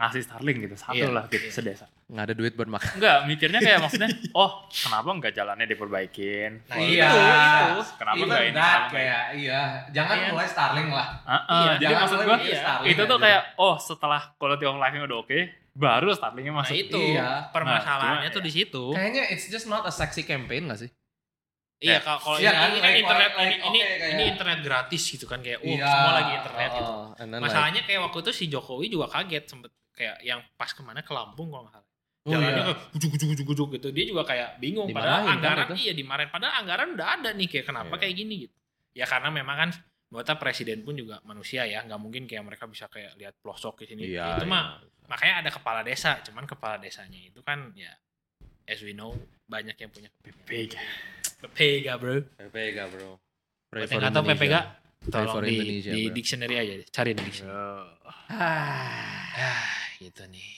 ngasih Starlink gitu, satu Iya, lah gitu iya. sedesa. nggak ada duit buat makan. Enggak, mikirnya kayak maksudnya, oh kenapa nggak jalannya diperbaikin? Nah, Oh, iya. itu. Kenapa Even nggak ini? that, kenapa nggak ini? kayak iya, jangan Iya. mulai Starlink lah. Ah, ah, Iya, jadi jangan maksud mulai gue, mikir Iya, Starlink itu tuh aja. kayak, oh setelah quality of life-nya udah oke, baru Starlink-nya Nah masuk. itu Iya. permasalahannya Nah, tuh di situ. Oh. Kayaknya it's just not a sexy campaign gak sih? Iya kalau kalau ini, Iya kan? ini kan Like, internet like, ini ini, okay, kayak- ini internet gratis gitu kan kayak uh Iya. semua lagi internet gitu. Oh, and then like, Masalahnya kayak waktu itu si Jokowi juga kaget sempet kayak yang pas kemana ke Lampung kalau nggak salah. Oh, Jalannya iya. kayak ujuk ujuk ujuk ujuk gitu. Dia juga kayak bingung padahal Dimarahin kan anggaran itu? iya dimarahin padahal anggaran udah ada nih kayak kenapa Iya. kayak gini gitu. Ya karena memang kan buat presiden pun juga manusia ya nggak mungkin kayak mereka bisa kayak lihat pelosok di sini. iya, itu iya. mah makanya ada kepala desa, cuman kepala desanya itu kan ya as we know banyak yang punya Big. PPG bro. PPG bro. Buat Pray for yang nggak tahu PPG Indonesia. Pray tolong for di, Indonesia, di bro. dictionary aja deh, cari di dictionary. Ah, gitu nih.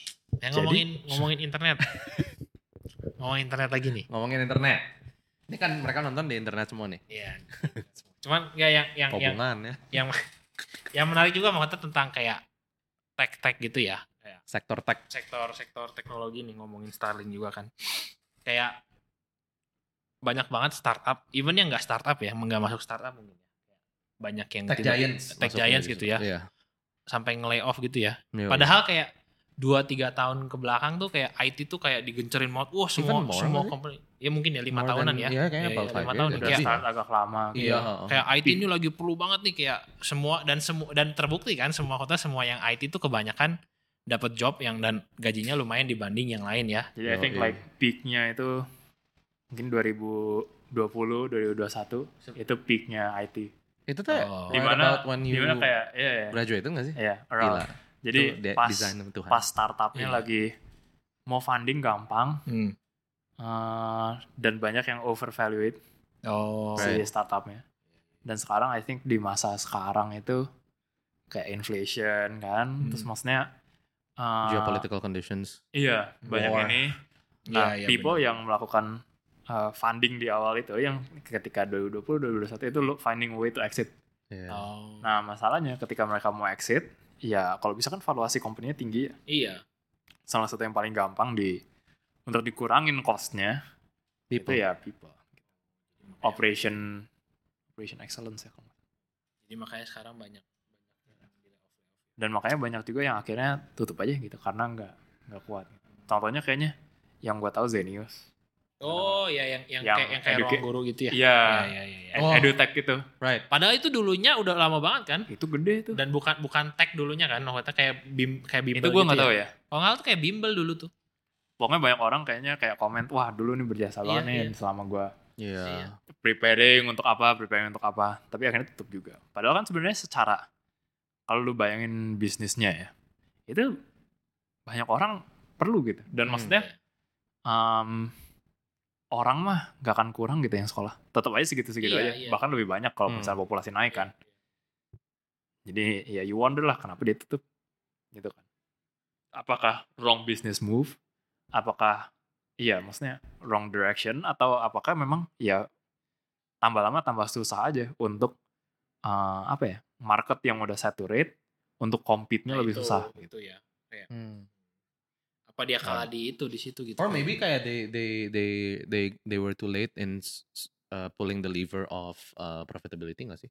Nah, ngomongin ngomongin internet. ngomongin internet lagi nih. Ngomongin internet. Ini kan mereka nonton di internet semua nih. Iya. Cuman ya yang yang yang Hubungan ya. yang yang menarik juga maksudnya tentang kayak tech-tech gitu ya. Kayak Sektor tech. sektor-sektor teknologi nih ngomongin Starlink juga kan. Kayak banyak banget startup, even yang nggak startup ya, nggak masuk startup mungkin. Banyak yang Tech tidak- giants. tech masuk giants di gitu situ. ya, Iya. sampai nge-layoff gitu ya. Yoi. Padahal kayak 2-3 tahun ke belakang tuh kayak IT tuh kayak digencerin banget. Wah semua Even more semua kali. company. Ya mungkin ya 5 More tahunan than- ya. Iya, kayaknya Ya, about ya, five lima years tahun ya, Udah berarti. start agak lama. gitu. Iya. heeh. Kayak IT ini lagi perlu banget nih kayak semua dan semua dan terbukti kan semua kota semua yang IT tuh kebanyakan dapat job yang dan gajinya lumayan dibanding yang lain ya. Jadi I think Yoi. like peak-nya itu mungkin 2020, 2021 itu peak-nya IT. Itu tuh Oh. right Dimana- about when you Gimana kayak ya ya. graduated nggak sih? Iya, Gila. around. Jadi Itu de- pas desain sama Tuhan. pas startupnya Iya. lagi mau funding gampang Hmm. eh, dan banyak yang overvalued Oh. si startupnya. Dan sekarang I think di masa sekarang itu kayak inflation kan, Hmm. terus maksudnya eh, Geopolitical conditions. Iya, banyak War. Iya, ini Nah, people yang melakukan uh, funding di awal itu yang ketika 2020 2021 itu lo finding way to exit. Iya. Oh. Nah, masalahnya ketika mereka mau exit, ya kalau bisa kan valuasi company-nya tinggi. ya. Iya. Salah satu yang paling gampang di untuk dikurangin cost-nya People. itu ya people. ya. Operation operation excellence ya. kalau nggak salah. Jadi makanya sekarang banyak Dan makanya banyak juga yang akhirnya tutup aja gitu karena nggak nggak kuat. Contohnya kayaknya yang gue tahu Zenius. Oh, ya yang yang, Yang kayak yang kayak ruang educate- guru gitu ya. Iya, Iya, iya, iya. ed- Oh. edutech gitu. Right. Padahal itu dulunya udah lama banget kan? Itu gede tuh. dan bukan bukan tag dulunya kan maksudnya kayak bim kayak bimbel Itu gue gitu nggak tahu ya. ya. kalau nggak salah tuh kayak bimbel dulu tuh pokoknya banyak orang kayaknya kayak komen wah dulu nih berjasa banget Iya, nih iya. selama gua Iya. Iya. preparing untuk apa preparing untuk apa tapi akhirnya tutup juga padahal kan sebenarnya secara kalau lu bayangin bisnisnya ya itu banyak orang perlu gitu Hmm. dan maksudnya em, orang mah gak akan kurang gitu yang sekolah tetap aja segitu-segitu Iya, aja iya. bahkan lebih banyak kalau Hmm. misalnya populasi naik kan Nah, jadi ya you wonder lah kenapa dia tutup gitu kan. Apakah wrong business move? Apakah iya maksudnya wrong direction atau apakah memang ya tambah lama tambah susah aja untuk eh, apa ya market yang udah saturate untuk compete-nya Nah, lebih itu- susah. itu ya Hmm. apa dia kalah Nah. di itu di situ gitu Or maybe kayak they they they they they were too late in s- s- uh, pulling the lever of uh, profitability nggak sih?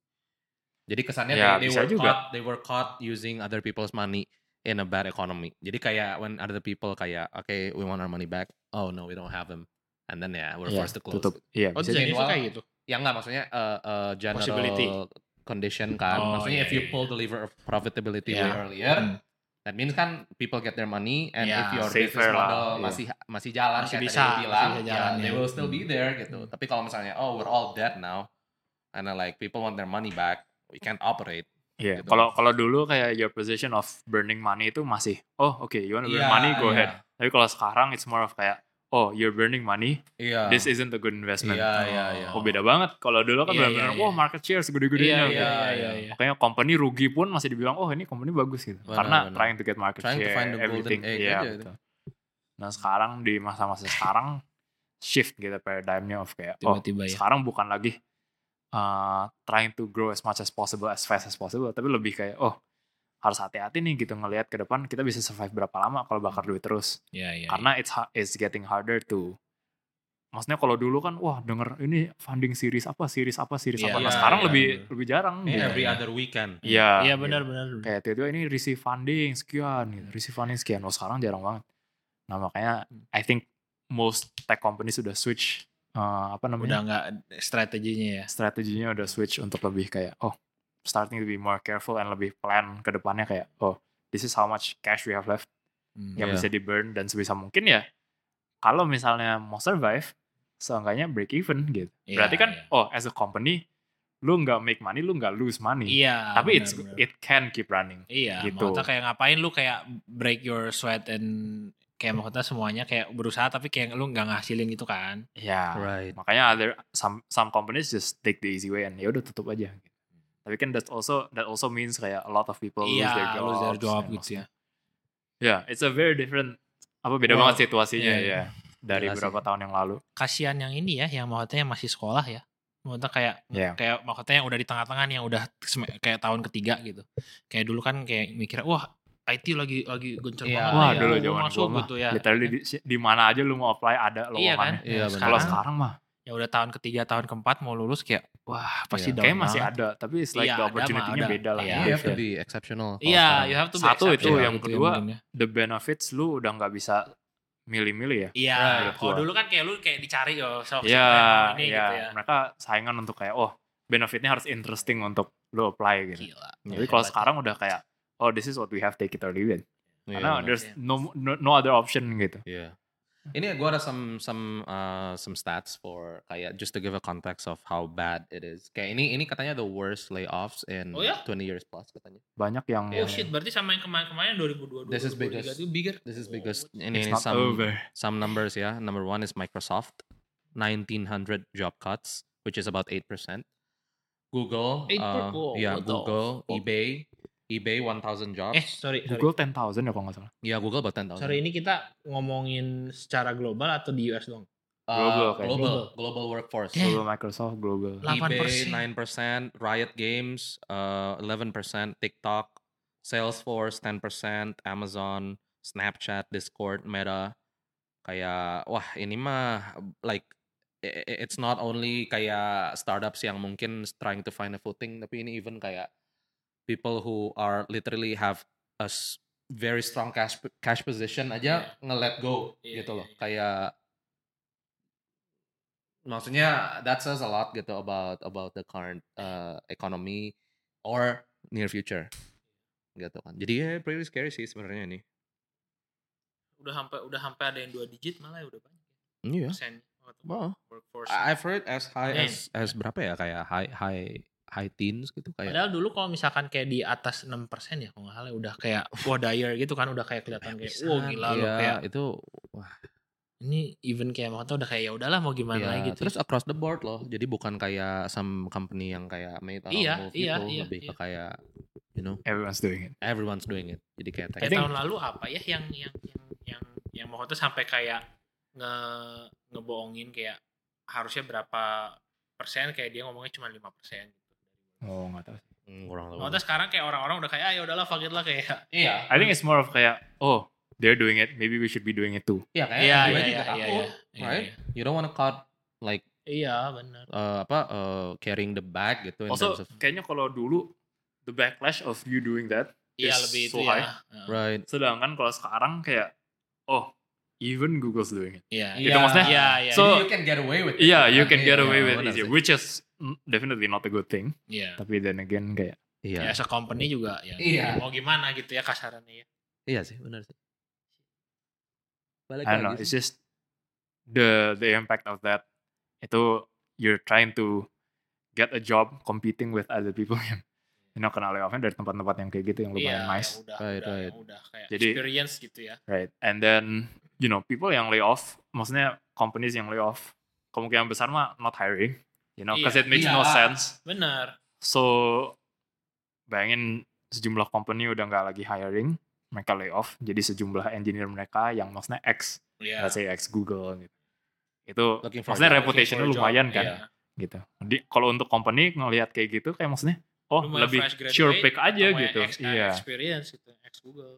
Jadi kesannya Ya, they, they bisa were juga. caught they were caught using other people's money in a bad economy. Jadi kayak when other people kayak okay we want our money back. Oh no we don't have them. And then yeah we're Iya, forced to close. Tutup. Iya, oh bisa jadi jadi. itu kayak gitu Ya nggak maksudnya uh, uh, general Possibility. condition kan. Oh, maksudnya iya, if you iya, pull the lever of profitability Iya. way earlier, Hmm. that means kan people get their money and Yeah, if your safer business lah. model Iya. masih masih jalan Masih kayak bisa, tadi lu bilang, masih bisa ya, jalan, they ya. will still be there gitu. Hmm. Tapi kalau misalnya oh we're all dead now and then, like people want their money back, we can't operate. Iya, Gitu. kalau kalau dulu kayak your position of burning money itu masih oh oke you wanna burn Iya, money go iya. ahead. Tapi kalau sekarang it's more of kayak oh you're burning money Ah. Iya. this isn't a good investment. Iya, iya, iya. Oh beda banget kalau dulu kan Iya, benar-benar iya, wah iya. market share Iya, segede-gedenya. iya, gitu. iya, iya, iya. iya. Makanya company rugi pun masih dibilang oh ini company bagus gitu. Benar, Karena benar. trying to get market Trying to share find the golden everything. egg Iya, aja betul. Nah sekarang di masa-masa sekarang shift gitu paradigmnya of kayak oh Tiba-tiba ya. sekarang bukan lagi uh, trying to grow as much as possible as fast as possible tapi lebih kayak oh harus hati-hati nih gitu ngelihat ke depan kita bisa survive berapa lama kalau bakar duit terus Iya, Ya, iya. karena it's ha- it's getting harder to maksudnya kalau dulu kan wah denger ini funding series apa series apa series Iya, apa nah iya, sekarang iya, lebih bener. lebih jarang Ini gitu. every Iya. other weekend. iya Iya, gitu. benar, benar. kayak tiba-tiba ini receive funding sekian gitu receive funding sekian oh sekarang jarang banget nah makanya I think most tech companies sudah switch uh, apa namanya Udah nggak strateginya ya. strateginya udah switch untuk lebih kayak oh starting to be more careful and lebih plan ke depannya kayak oh this is how much cash we have left Hmm. yang bisa di burn dan sebisa mungkin ya kalau misalnya mau survive seenggaknya break even gitu Iya, berarti kan iya. oh as a company lu nggak make money lu nggak lose money Iya. tapi it's benar, benar. it can keep running Iya, Gitu. maksudnya kayak ngapain lu kayak break your sweat and kayak maksudnya semuanya kayak berusaha tapi kayak lu nggak ngasilin gitu kan. ya Right. makanya other some some companies just take the easy way and ya udah tutup aja gitu. tapi kan that's also that also means kayak a lot of people lose their Iya, jobs lose their job and gitu ya. Ya, it's a very different apa beda Wow. banget situasinya Iya, ya dari Jelas beberapa tahun yang lalu. Kasihan yang ini ya, yang maksudnya yang masih sekolah ya. Maksudnya kayak Iya. kayak maksudnya yang udah di tengah-tengah nih, yang udah sem- kayak tahun ketiga gitu. Kayak dulu kan kayak mikir wah IT lagi lagi goncang Iya, banget. Wah, ya, dulu gua zaman masuk gua mah gitu ya. literally di, di mana aja lu mau apply ada Iya kan? lowongannya. Iya, benar. Kalau Sekarang- sekarang mah Yang udah tahun ketiga, tahun keempat mau lulus kayak wah Iya. pasti down kayaknya masih banget. ada, tapi it's Iya, like the ada mah, opportunity-nya ada. beda lah. Iya. ya. You have to be exceptional. kalau Iya, sekarang. you have to be Satu itu, exceptional yang gitu ya kedua. mungkin Iya. ya. The benefits lu udah nggak bisa milih-milih ya. Iya, Right. kalau dulu kan kayak lu kayak dicari "Oh, yo, sok sok Iya, keren ini iya. gitu ya. Mereka saingan untuk kayak oh, benefitnya harus interesting untuk lu apply gitu. Gila. Tapi kalau iya, sekarang udah kayak oh, this is what we have take it or leave it. Iya, benar. Karena there's no, no no other option gitu. Yeah. Ini gue ada some some uh, some stats for kayak just to give a context of how bad it is. Kayak ini ini katanya the worst layoffs in Oh ya? 20 years plus katanya. Banyak yang Oh shit, berarti sama yang kemarin-kemarin 2022 Iya. This is 2023 biggest. itu bigger. This is Oh, because ini, It's ini not some over. some numbers ya. Number one is Microsoft, 1900 job cuts, which is about 8%. Google, Eight per- uh, wow, yeah, what the Google, fuck? eBay, eBay 1000 jobs. Eh, sorry, sorry. Google 10,000 ya kalau nggak salah. Yeah, Google about 10,000. Sorry, ini kita ngomongin secara global atau di US dong? Uh, Global, kayak global, global. global, workforce. Damn. Google, Microsoft, Global. Lah. 8%. eBay nine percent, Riot Games uh, eleven percent, TikTok, Salesforce ten percent, Amazon, Snapchat, Discord, Meta. Kayak wah ini mah like i- i- it's not only kayak startups yang mungkin trying to find a footing, tapi ini even kayak people who are literally have a s- very strong cash cash position aja nge-let go Iya, gitu iya, loh. Kayak maksudnya that says a lot gitu about about the current uh, economy or near future gitu kan jadi ya pretty scary sih sebenarnya ini Udah sampai udah sampai ada yang 2 digit malah ya udah banyak iya persen Wah. Ah, workforce. I've heard as high Yeah. as as berapa ya kayak high high high teens gitu kayak Padahal dulu kalau misalkan kayak di atas 6% ya kalau nggak salah udah kayak wah dire gitu kan udah kayak kelihatan kayak wah gila Iya, loh kayak itu wah ini even kayak maksudnya udah kayak ya udahlah mau gimana iya. lagi gitu. terus across the board loh jadi bukan kayak some company yang kayak made a Iya, move iya, gitu iya, lebih ke iya. kayak you know Everyone's doing it. everyone's doing it jadi kayak kayak tech- tahun lalu apa ya yang yang yang yang yang maksudnya sampai kayak nge ngebohongin kayak harusnya berapa persen kayak dia ngomongnya cuma 5% persen. Oh, nggak tahu. Hmm, kurang tahu. Maksudnya sekarang kayak orang-orang udah kayak ah, ya udahlah fuck it lah kayak iya I think it's more of kayak oh, they're doing it, maybe we should be doing it too. iya kayak gue juga takut. right? you don't want to caught like Iya benar. uh, apa uh, carrying the bag gitu in Also, terms of kayaknya kalau dulu the backlash of you doing that, Iya It's lebih itu so high. ya. Heeh. right sedangkan kalau sekarang kayak oh, even Google's doing it. Iya. Gitu maksudnya? Iya iya. So- you can get away with it. Yeah, you kan? can get Iya, away iya, with benar it easier, sih. which is mm, definitely not a good thing. Iya. Tapi then again kayak iya Ya, as a company juga ya. Iya. Mau gimana gitu ya kasarannya ya. iya sih benar sih balik I don't know, lagi it's sih. just the the impact of that itu you're trying to get a job competing with other people yang you know kena layoffnya dari tempat-tempat yang kayak gitu yang Iya, lumayan nice yang udah, Right, udah, yang right. udah kayak Jadi- experience gitu ya. right and then you know people yang layoff maksudnya companies yang layoff kemungkinan besar mah not hiring you know because Iya, it makes no iya. sense Benar. so bayangin sejumlah company udah nggak lagi hiring mereka layoff jadi sejumlah engineer mereka yang maksudnya ex Iya. let's say ex Google gitu itu Looking for maksudnya a job, reputationnya Looking for a lumayan job, kan iya. gitu. Di kalau untuk company ngelihat kayak gitu kayak maksudnya oh Lu mau yang lebih fresh graduate sure pick aja atau mau yang gitu. ex- Iya, Experience gitu, ex Google.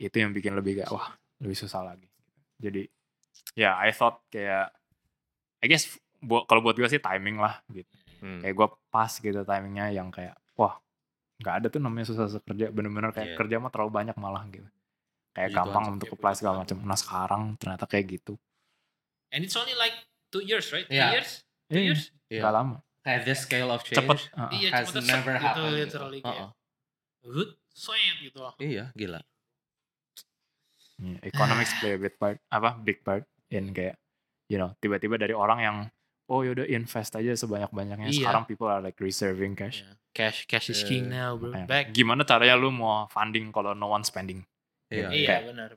itu yang bikin lebih gak wah lebih susah lagi. Jadi ya I thought kayak I guess buat kalau buat gue sih timing lah gitu. Hmm. Kayak gue pas gitu timingnya yang kayak wah nggak ada tuh namanya susah susah kerja bener-bener kayak Iya. kerja mah terlalu banyak malah gitu. Kayak Puji Tuhan gampang sih, untuk kayak apply puji segala Tuhan. macam. Nah sekarang ternyata kayak gitu. And it's only like two years, right? Iya. Two years? Two Iya, years? Iya. nggak lama. Kayak the scale of change. Cepet. uh-uh. Iya, Has cuma tuh never set gitu, happened gitu. literally kayak. Oh, oh. Good, soet gitu. Iya, gila. Iya, economics play a big part apa big part in kayak you know tiba-tiba dari orang yang oh yaudah invest aja sebanyak-banyaknya Iya. sekarang people are like reserving cash. Iya. Cash, cash is king now, bro. Kayak, Back. Gimana caranya lu mau funding kalau no one spending? Iya. Iya, kayak- benar.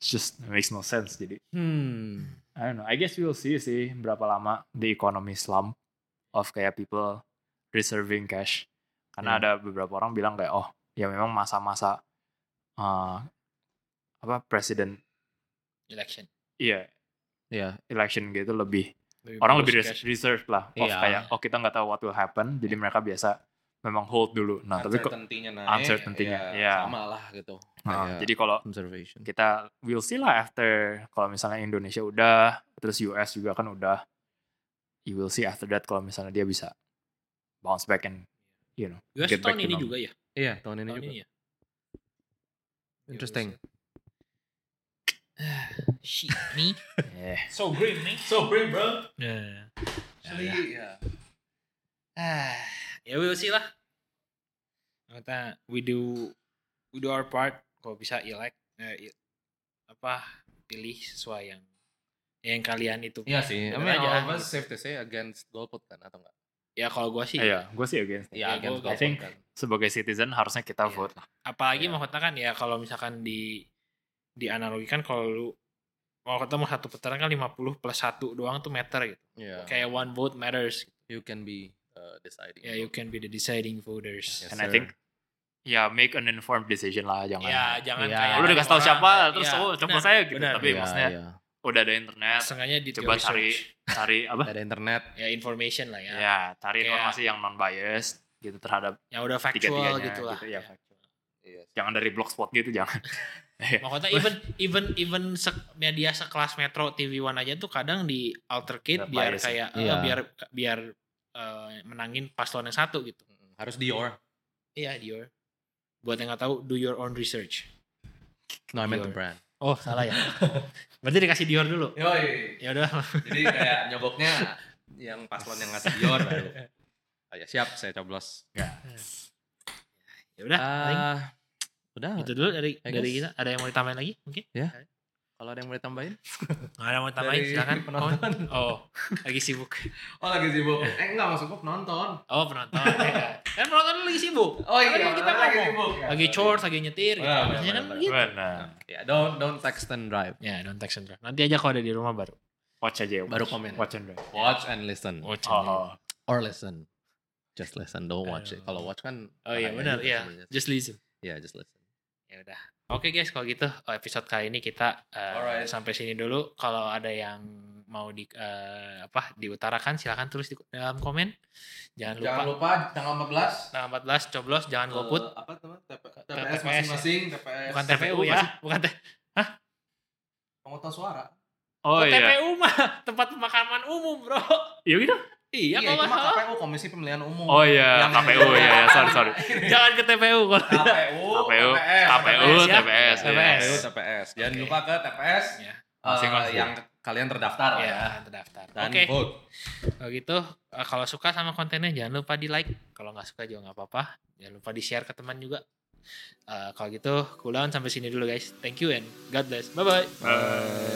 It's just it makes no sense. Jadi Hmm. I don't know. I guess we'll see sih berapa lama the economy slump of kayak people reserving cash. Karena Iya. ada beberapa orang bilang kayak oh ya memang masa-masa eh, apa presiden Election. iya Iya. election gitu lebih orang lebih Terus res- reserve lah of Iya. kayak oh kita nggak tahu what will happen jadi mereka biasa memang hold dulu nah tapi kok Uncertainty-nya naik. uncertainty-nya, ya, iya. Sama lah gitu. nah, Kayak jadi kalau observation. kita will see lah after kalau misalnya Indonesia udah terus US juga kan udah you will see after that kalau misalnya dia bisa bounce back and you know US get back tahun ini to normal. juga ya? Iya, tahun ini Tahun juga. ini ya? Interesting. Shit, me. yeah. So green, me. So green, bro. Yeah. Actually, ya. Ah, ya we'll see lah. Kita we do we do our part. Kalau bisa elect eh, i- apa pilih sesuai yang yang kalian itu. Iya I sih. I mean, mean, all of all of us safe to say against golput kan atau enggak? Ya kalau gua sih, iya gue sih against Iya, against gua- I golput think- kan. sebagai citizen harusnya Iya. kita vote lah apalagi Iya. mau mahkota kan ya kalau misalkan di dianalogikan kalau lu mau ketemu satu putaran kan 50 plus satu doang tuh meter gitu. Iya. Kayak one vote matters. You can be uh, deciding. Ya you can be the deciding voters. Kan? Yes, and I sir. think ya make an informed decision lah jangan "Ah, Ya, jangan Iya. kayak lu udah cari kasih tahu orang, siapa kayak- terus iya, oh coba benar, saya gitu benar. tapi Iya, maksudnya iya. udah ada internet Sengaja di coba cari cari apa ada internet. ya information lah ya. ya Kayak- cari informasi yang non biased gitu terhadap Yang Ya, udah tiga factual tiganya gitu lah. ya, Ya. factual. Iya. sih. jangan dari blogspot gitu jangan Makanya even even even se- media sekelas Metro TV One aja tuh kadang di altercate Nggak biar bias ya. kayak eh, Iya. biar biar eh, menangin paslon yang satu gitu. Mm-mm. Harus Dior. Iya Dior. Buat yang nggak tahu, do your own research. No, I meant the Dior. brand. Oh salah ya. Berarti dikasih Dior dulu. Yoi. Ya udah. Jadi kayak nyogoknya yang paslon yang ngasih Dior baru. Oh, ya, siap, saya coblos. Ya udah. paling Gitu. Ah, udah. Itu dulu dari I dari guess. kita. Ada yang mau ditambahin lagi? Mungkin? Kalau ada yang boleh tambahin? Nggak ada yang mau ditambahin? Dari Silakan. penonton. Kawan. Oh, lagi sibuk. Oh, lagi sibuk. Eh, enggak maksud gue penonton. Oh penonton. ya. kan penonton lagi sibuk. Oh Kan iya, kita lagi ngomong. sibuk. Ya, lagi sorry. chores, lagi nyetir gitu. Benar, benar, Biasanya kan benar, gitu. benar Ya, don't don't text and drive. Ya, don't text and drive. Nanti aja kalau ada di rumah baru. watch aja watch. Baru komen. watch and drive Watch and listen. Oh, oh, Or listen. Just listen, don't watch it. Kalau watch kan oh iya bahaya benar, juga iya. sebenarnya. Just listen. Iya, just listen. Ya udah. Oke guys, kalau gitu eh, episode kali ini kita eh, Alright. sampai sini dulu. Kalau ada yang mau di eh, apa diutarakan silahkan tulis di dalam komen. Jangan lupa, Jangan lupa tanggal 14 tanggal 14 coblos jangan golput. eh, apa teman TP- TPS, TPS masing-masing TPS Bukan TPU TPU ya, bukan T- penghutang suara oh, oh iya TPU mah tempat pemakaman umum, Bro. iya gitu Iya, kalau iya itu nggak mah salah. KPU Komisi Pemilihan Umum oh iya Yang- KPU ya ya sorry sorry Jangan ke TPU Ah. kalau KPU KPU KPU TPS, TPS, ya? TPS TPS. yes. Ayo, TPS. Jangan Oke. lupa ke TPS Ya. eh, Masing-masing. yang kalian terdaftar lah ya. ya, terdaftar. Dan Oke. vote. Kalau gitu, eh, kalau suka sama kontennya jangan lupa di like. Kalau nggak suka juga nggak apa-apa. Jangan lupa di share ke teman juga. Eh, kalau gitu, cooldown sampai sini dulu guys. Thank you and God bless. Bye bye. Eh,